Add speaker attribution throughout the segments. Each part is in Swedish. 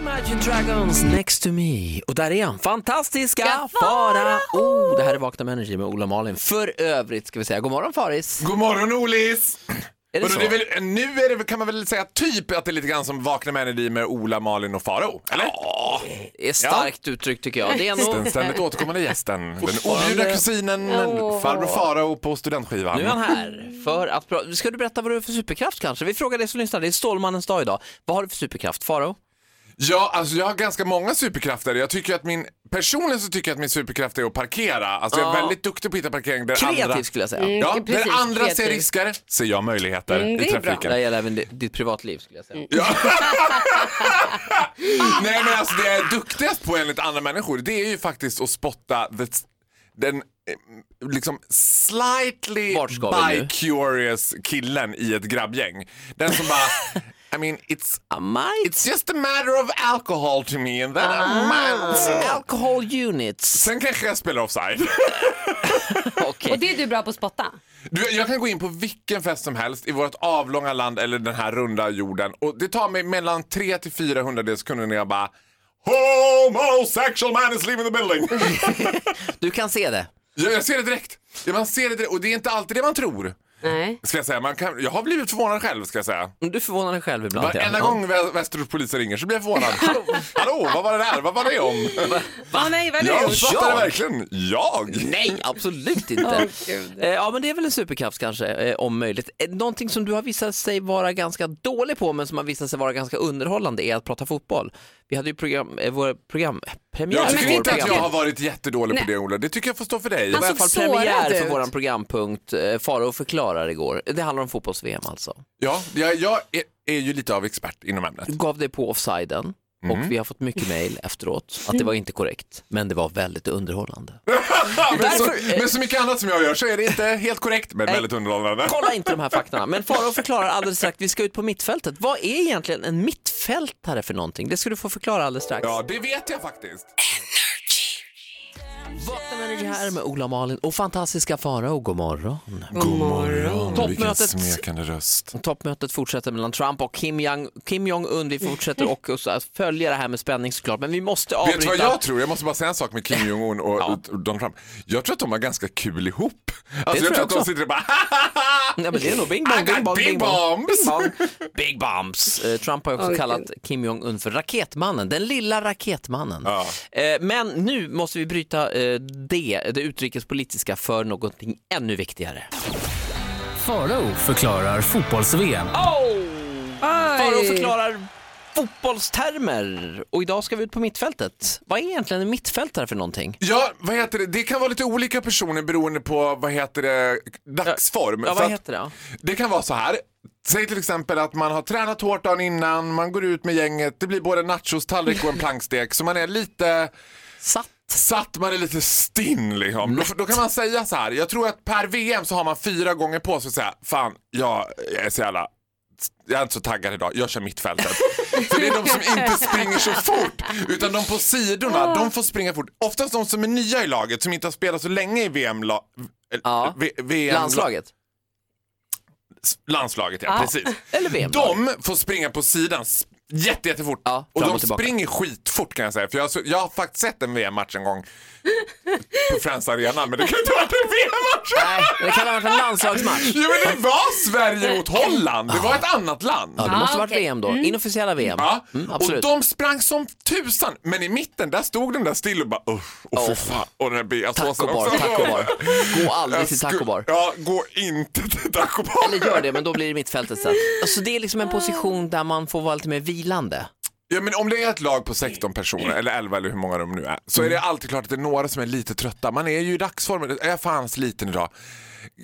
Speaker 1: Imagine Dragons Next to me. Och där är han, fantastiska Farao. Oh, det här är Vakna med Energy med Ola och Malin. För övrigt ska vi säga god morgon Faris.
Speaker 2: God morgon Olis!
Speaker 1: Är det
Speaker 2: Vadå,
Speaker 1: så?
Speaker 2: det är väl, nu är det, väl- kan man väl säga typ att det är lite grann som Vakna med energi med Ola, Malin och Faro Eller? Ja.
Speaker 1: Det är starkt uttryckt tycker jag. Det är nog...
Speaker 2: Den ständigt återkommande gästen. Den objudna kusinen, farbror Farao på studentskivan.
Speaker 1: Nu är han här för att... pra- Ska du berätta vad du har för superkraft kanske? Vi frågar dig som lyssnar, det är Stålmannens dag idag. Vad har du för superkraft Farao?
Speaker 2: Ja, alltså jag har ganska många superkrafter. Jag tycker att min, personligen så tycker jag att min superkraft är att parkera. Alltså jag är väldigt duktig på att hitta parkering där andra...
Speaker 1: Kreativ skulle jag säga.
Speaker 2: Ja,
Speaker 3: Mm,
Speaker 2: där
Speaker 3: precis,
Speaker 2: andra ser
Speaker 3: kreativ.
Speaker 2: risker ser jag möjligheter
Speaker 3: Mm, det
Speaker 2: i
Speaker 3: är bra. Mm.
Speaker 2: trafiken.
Speaker 1: Det gäller även di- ditt privatliv skulle jag säga.
Speaker 2: Ja. Nej men alltså det jag är duktigast på enligt andra människor det är ju faktiskt att spotta the, den eh, liksom slightly
Speaker 1: Vart ska vi nu?
Speaker 2: bi-curious killen i ett grabbgäng. Den som bara I mean it's
Speaker 1: Amai.
Speaker 2: It's just a matter of alcohol to me and then I might...
Speaker 1: Alcohol units.
Speaker 2: Sen kanske jag spelar offside.
Speaker 1: Okej.
Speaker 3: Och det är du bra på att spotta?
Speaker 2: Du, jag kan gå in på vilken fest som helst i vårt avlånga land eller den här runda jorden och det tar mig mellan 3 till 4 hundradels sekunder när jag bara Homosexual man is leaving the building.
Speaker 1: Du kan se det.
Speaker 2: jag, jag ser det direkt. Ja, man ser det direkt. Och det är inte alltid det man tror.
Speaker 3: Nej.
Speaker 2: Ska jag, säga. Man kan, jag har blivit förvånad själv ska jag säga.
Speaker 1: Du förvånar dig själv ibland. ja.
Speaker 2: Varenda
Speaker 1: Ja.
Speaker 2: gång vä- Västerortspolisen ringer så blir jag förvånad. Hallå, hallå, vad var det där? Vad var det om?
Speaker 3: Va? nej, vad
Speaker 2: Jag fattar det
Speaker 1: Jag?
Speaker 2: verkligen. Jag?
Speaker 1: Nej, absolut inte. Eh, ja, men det är väl en superkraft kanske, eh, om möjligt. Eh, Någonting som du har visat sig vara ganska dålig på, men som har visat sig vara ganska underhållande, är att prata fotboll. Vi hade ju program, eh, vår program, premiär
Speaker 2: Jag
Speaker 1: för
Speaker 2: tycker
Speaker 1: vår
Speaker 2: inte att jag
Speaker 1: programpunkt.
Speaker 2: har varit jättedålig på det Ola. Det tycker jag får stå för dig.
Speaker 1: Det var i alla fall
Speaker 3: såg sårad
Speaker 1: premiär för
Speaker 3: ut.
Speaker 1: vår programpunkt eh, Farao förklarar igår. Det handlar om fotbolls-VM alltså.
Speaker 2: Ja, jag, jag är, är ju lite av expert inom ämnet.
Speaker 1: Du gav dig på offsiden
Speaker 2: Mm.
Speaker 1: och vi har fått mycket mejl efteråt att det var inte korrekt, men det var väldigt underhållande.
Speaker 2: men, så, men så mycket annat som jag gör så är det inte helt korrekt men väldigt underhållande.
Speaker 1: Kolla inte de här faktorna. Men Farao förklarar alldeles strax, vi ska ut på mittfältet. Vad är egentligen en mittfältare för någonting? Det ska du få förklara alldeles strax.
Speaker 2: Ja, det vet jag faktiskt.
Speaker 1: Vakna med Energy här med Ola och Malin och fantastiska Farao, god morgon.
Speaker 2: God morgon.
Speaker 1: Toppmötet.
Speaker 2: Vilken smekande röst.
Speaker 1: Toppmötet fortsätter mellan Trump och Kim Jong- Kim Jong-Un. Vi fortsätter och och så att följa det här med spänning såklart, men vi måste
Speaker 2: Vet du
Speaker 1: avbryta.
Speaker 2: vad jag tror? Jag måste bara säga en sak med Kim Jong-Un och och Donald Trump. Jag tror att de har ganska kul ihop. Alltså,
Speaker 1: tror
Speaker 2: jag
Speaker 1: jag
Speaker 2: tror att de
Speaker 1: också.
Speaker 2: sitter och bara "Hahaha."
Speaker 1: Ja, men det är nog bing
Speaker 2: I
Speaker 1: bong,
Speaker 2: got
Speaker 1: bing bong,
Speaker 2: big
Speaker 1: bing bong.
Speaker 2: bombs.
Speaker 1: Bing bong. Big bombs. Eh, Trump har ju också
Speaker 3: Oj,
Speaker 1: kallat Kim Jong-Un för raketmannen, den lilla raketmannen.
Speaker 2: Ja.
Speaker 1: Eh, men nu måste vi bryta eh, det, det utrikespolitiska för någonting ännu viktigare.
Speaker 4: Farao förklarar fotbolls-VM.
Speaker 1: Farao förklarar fotbollstermer och idag ska vi ut på mittfältet. Vad är egentligen en mittfältare för någonting?
Speaker 2: Ja, vad heter det? Det kan vara lite olika personer beroende på vad heter det, dagsform.
Speaker 1: Ja,
Speaker 2: Så
Speaker 1: vad
Speaker 2: att-
Speaker 1: heter det?
Speaker 2: Det kan vara så här. Säg till exempel att man har tränat hårt dagen innan, man går ut med gänget, det blir både en nachostallrik och en plankstek. Så man är lite
Speaker 1: Satt.
Speaker 2: satt, man är lite stinn liksom. Då, då kan man säga så här, jag tror att per VM så har man fyra gånger på sig att säga, fan jag är så jävla jag är inte så taggad idag, jag kör mittfältet. För det är de som inte springer så fort, utan de på sidorna, de får springa fort. Oftast de som är nya i laget, som inte har spelat så länge i VM... la- eh,
Speaker 1: Ja.
Speaker 2: V- VM
Speaker 1: Landslaget?
Speaker 2: Landslaget, ja. Precis.
Speaker 1: Eller vm
Speaker 2: De får springa på sidan s- jätte, jättefort.
Speaker 1: Ja,
Speaker 2: och
Speaker 1: fram
Speaker 2: de
Speaker 1: och tillbaka.
Speaker 2: springer skitfort kan jag säga. För jag, har så- jag har faktiskt sett en VM-match en gång på Friends Arena, men det kan ju inte ha varit en VM-match!
Speaker 1: Nej, det kan ha varit en landslagsmatch.
Speaker 2: Jo men det var Sverige mot Holland, det var ett annat land.
Speaker 1: Ja, det måste ha varit
Speaker 3: Ah, okej. Mm.
Speaker 1: VM då, inofficiella VM.
Speaker 2: Ja, Ah,
Speaker 1: Mm,
Speaker 2: och
Speaker 1: absolut.
Speaker 2: de sprang som tusan, men i mitten där stod den där still och bara usch, och för fan, och den där beasåsen
Speaker 1: Tacobar, tacobar. Gå aldrig till tacobar.
Speaker 2: Ja, gå inte till tacobar.
Speaker 1: Eller gör det, men då blir det mittfältet sen. Alltså det är liksom en position där man får vara lite mer vilande.
Speaker 2: Ja, men om det är ett lag
Speaker 1: Mm.
Speaker 2: på 16 personer, eller 11 eller hur många de nu är, så är det alltid klart att det är några som är lite trötta. Man är ju i dagsformen. Är jag fan sliten idag?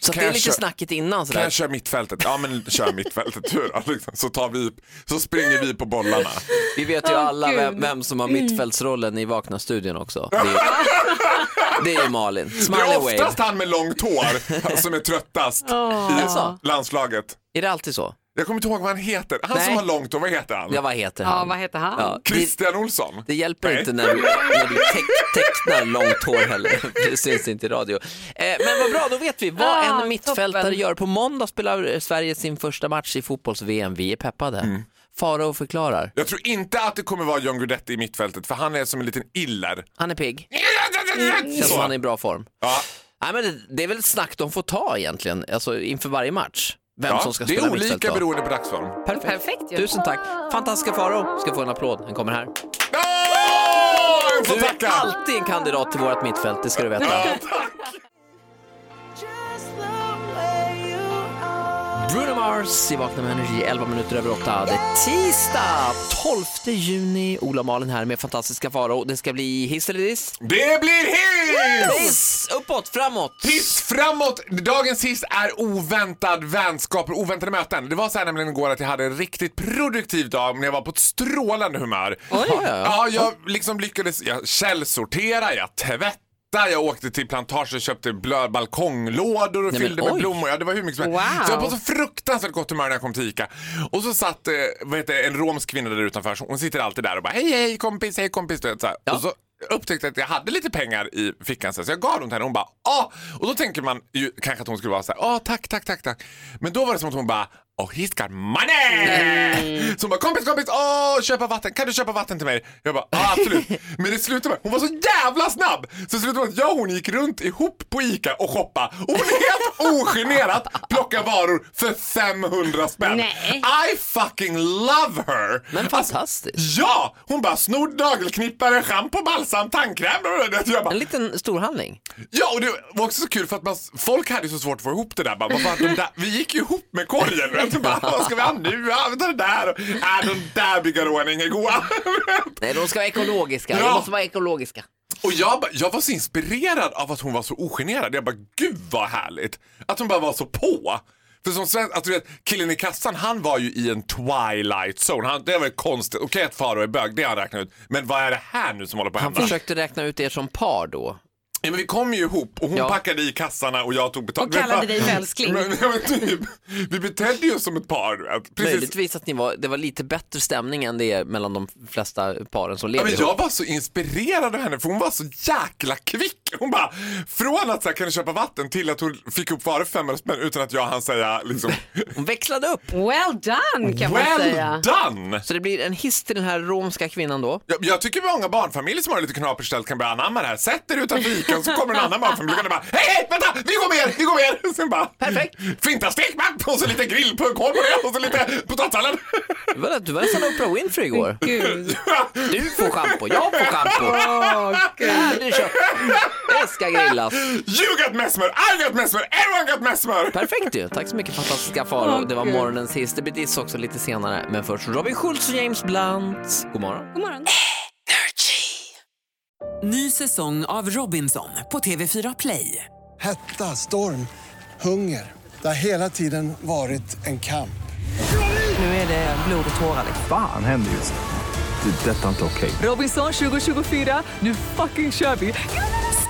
Speaker 1: Så att
Speaker 2: Kan
Speaker 1: det är
Speaker 2: jag
Speaker 1: lite
Speaker 2: kö-
Speaker 1: snacket innan
Speaker 2: Kan
Speaker 1: sådär.
Speaker 2: jag köra mittfältet? Ja, men kör mittfältet. Hur då? Liksom. Så, tar vi, så springer vi på bollarna.
Speaker 1: Vi vet ju alla
Speaker 3: Gud. Mm.
Speaker 1: vem, vem som har mittfältsrollen i Vakna-studion också. Det är, Det är Malin.
Speaker 2: Det
Speaker 1: Smiley
Speaker 2: är
Speaker 1: wave.
Speaker 2: oftast han med långt hår som är tröttast
Speaker 1: Jaså?
Speaker 2: i landslaget.
Speaker 1: Är det alltid så?
Speaker 2: Jag kommer inte ihåg vad han heter. Han som
Speaker 1: Nej.
Speaker 2: har långt hår, vad heter han?
Speaker 1: Ja, vad heter han?
Speaker 3: Ja, vad heter han?
Speaker 1: Ja, det,
Speaker 2: Christian Olsson?
Speaker 1: det hjälper
Speaker 2: Nej.
Speaker 1: inte när du, när du teck- tecknar långt hår heller. Det syns inte i radio. Eh, men vad bra, då vet vi vad
Speaker 3: Ah,
Speaker 1: en mittfältare
Speaker 3: toppen.
Speaker 1: gör. På måndag spelar eh, Sverige sin första match i fotbolls-VM. Vi är peppade.
Speaker 2: Mm.
Speaker 1: Farao förklarar.
Speaker 2: Jag tror inte att det kommer vara John Guidetti i mittfältet för han är som en liten iller.
Speaker 1: Han är pigg. Mm. Känns som han är
Speaker 2: Så.
Speaker 1: i bra form.
Speaker 2: Ja,
Speaker 1: Nej, men det, det är väl ett snack de får ta egentligen, alltså inför varje match. Vem
Speaker 2: ja.
Speaker 1: som ska
Speaker 2: Det
Speaker 1: spela
Speaker 2: är
Speaker 1: mittfält
Speaker 2: olika
Speaker 1: då.
Speaker 2: beroende på dagsform.
Speaker 1: Perfekt.
Speaker 3: Perfekt ju.
Speaker 1: Tusen tack. Fantastiska Farao ska få en applåd. Den kommer här.
Speaker 2: Åh, Jag får
Speaker 1: Du är
Speaker 2: tacka!
Speaker 1: alltid en kandidat till vårt mittfält, det ska du veta.
Speaker 2: Ja, tack.
Speaker 1: Bruno Mars i Vakna med Energy, 11 minuter över 8. Det är tisdag 12 juni. Ola och Malin här med fantastiska Farao. Det ska bli hiss eller diss?
Speaker 2: Det blir hiss!
Speaker 1: Hiss! Uppåt, framåt.
Speaker 2: Hiss framåt! Dagens hiss är oväntad vänskap och oväntade möten. Det var så här nämligen igår att jag hade en riktigt produktiv dag men jag var på ett strålande humör.
Speaker 1: Oj. Ja, ja, ja.
Speaker 2: Ja, jag liksom lyckades. Jag källsortera, jag tvättade, jag åkte till plantagen och köpte blö- balkonglådor och
Speaker 1: men
Speaker 2: fyllde med
Speaker 1: oj.
Speaker 2: blommor. Ja, det var hur mycket som helst.
Speaker 3: Wow.
Speaker 2: Så jag var på så fruktansvärt gott humör när jag kom till ICA. Och så satt eh, vad heter, det, en romsk kvinna där utanför. Så Hon sitter alltid där och bara hej, hej kompis, hej kompis. Du vet, så här.
Speaker 1: Ja.
Speaker 2: Och så upptäckte jag att jag hade lite pengar i fickan så jag gav dem till henne och hon bara ah! Och då tänker man ju kanske att hon skulle vara så här ah tack, tack, tack, tack. Men då var det som att hon bara Oh, he's got money! Så hon bara, kompis, kompis, åh, köpa vatten, kan du köpa vatten till mig? Jag bara, ah, absolut. Men det slutade med, hon var så jävla snabb! Så det slutade med att jag och hon gick runt ihop på ICA och shoppa. Och hon helt ogenerat plockade varor för 500 spänn.
Speaker 3: Nej.
Speaker 2: I fucking love her! Alltså,
Speaker 1: Men fantastiskt.
Speaker 2: Ja! Hon bara snod nagelknippare, schampo, balsam, tandkräm. Jag bara,
Speaker 1: En liten storhandling.
Speaker 2: ja, och det var också så kul för att man, folk hade ju så svårt att få ihop det där. Bara, vad fan, de där vi gick ju ihop med korgen. Vet du, bara, vad ska vi ha nu? Ja, vi tar det där. Och, äh, de där bigarråerna är goda.
Speaker 1: Nej, de ska vara ekologiska.
Speaker 2: Ja.
Speaker 1: De måste vara ekologiska.
Speaker 2: och jag, bara- jag var så inspirerad av att hon var så ogenerad. Jag bara, gud vad härligt. Att hon bara var så på. För som svensk, att du vet, killen i kassan han var ju i en twilight zone. Han, det var ju konstigt. Okej att Faro är bög, det har han räknat ut. Men vad är det här nu som håller på att
Speaker 1: Han
Speaker 2: hända?
Speaker 1: försökte räkna ut er som par då.
Speaker 2: Ja, men vi kom ju ihop och hon
Speaker 1: Ja.
Speaker 2: packade i kassarna och jag tog betalt.
Speaker 3: Och kallade
Speaker 2: Men-
Speaker 3: dig för älskling.
Speaker 2: Men, ja, men typ, vi betedde ju oss som ett par. du vet. Precis.
Speaker 1: Möjligtvis att ni var, det var lite bättre stämning än det är mellan de flesta paren som
Speaker 2: Ja,
Speaker 1: lever
Speaker 2: men
Speaker 1: ihop.
Speaker 2: jag var så inspirerad av henne för hon var så jäkla kvick. Hon bara, från att så här, kan du köpa vatten till att hon fick upp varor för 500 spänn utan att jag hann säga liksom,
Speaker 1: Hon växlade upp.
Speaker 3: Well done kan man
Speaker 2: well
Speaker 3: säga.
Speaker 2: done!
Speaker 1: Så det blir en hiss till den här romska kvinnan då.
Speaker 2: Jag, jag tycker många barnfamiljer som har lite knapert ställt kan börja anamma det här. Sätt er utanför ICA och så kommer en annan barnfamilj och bara Hej, hej, vänta! Vi går med er! Vi går med er! Sen bara
Speaker 1: Perfekt.
Speaker 2: Flintastek med! Och så lite grill på korv på det och så lite potatissallad.
Speaker 1: Du var, du var nästan Oprah Winfrey igår.
Speaker 3: Gud.
Speaker 1: Du får schampo, jag får schampo. Här, du kör. Det ska grillas.
Speaker 2: You got mesmer, I got mesmer, everyone got mesmer!
Speaker 1: Perfekt ju. Tack så mycket fantastiska Faro.
Speaker 3: Åh,
Speaker 1: Det var
Speaker 3: Gud.
Speaker 1: morgonens hiss. Det blir diss också lite senare. Men först Robin Schultz och James Blunt. God morgon.
Speaker 3: God morgon.
Speaker 5: Ny säsong av Robinson på TV4 Play.
Speaker 6: Hetta, storm, hunger. Det har hela tiden varit en kamp.
Speaker 5: Nu är det blod och tårar. liksom.
Speaker 7: Fan händer just nu. Det. är Detta är inte okej.
Speaker 5: Robinson 2024, nu fucking kör vi!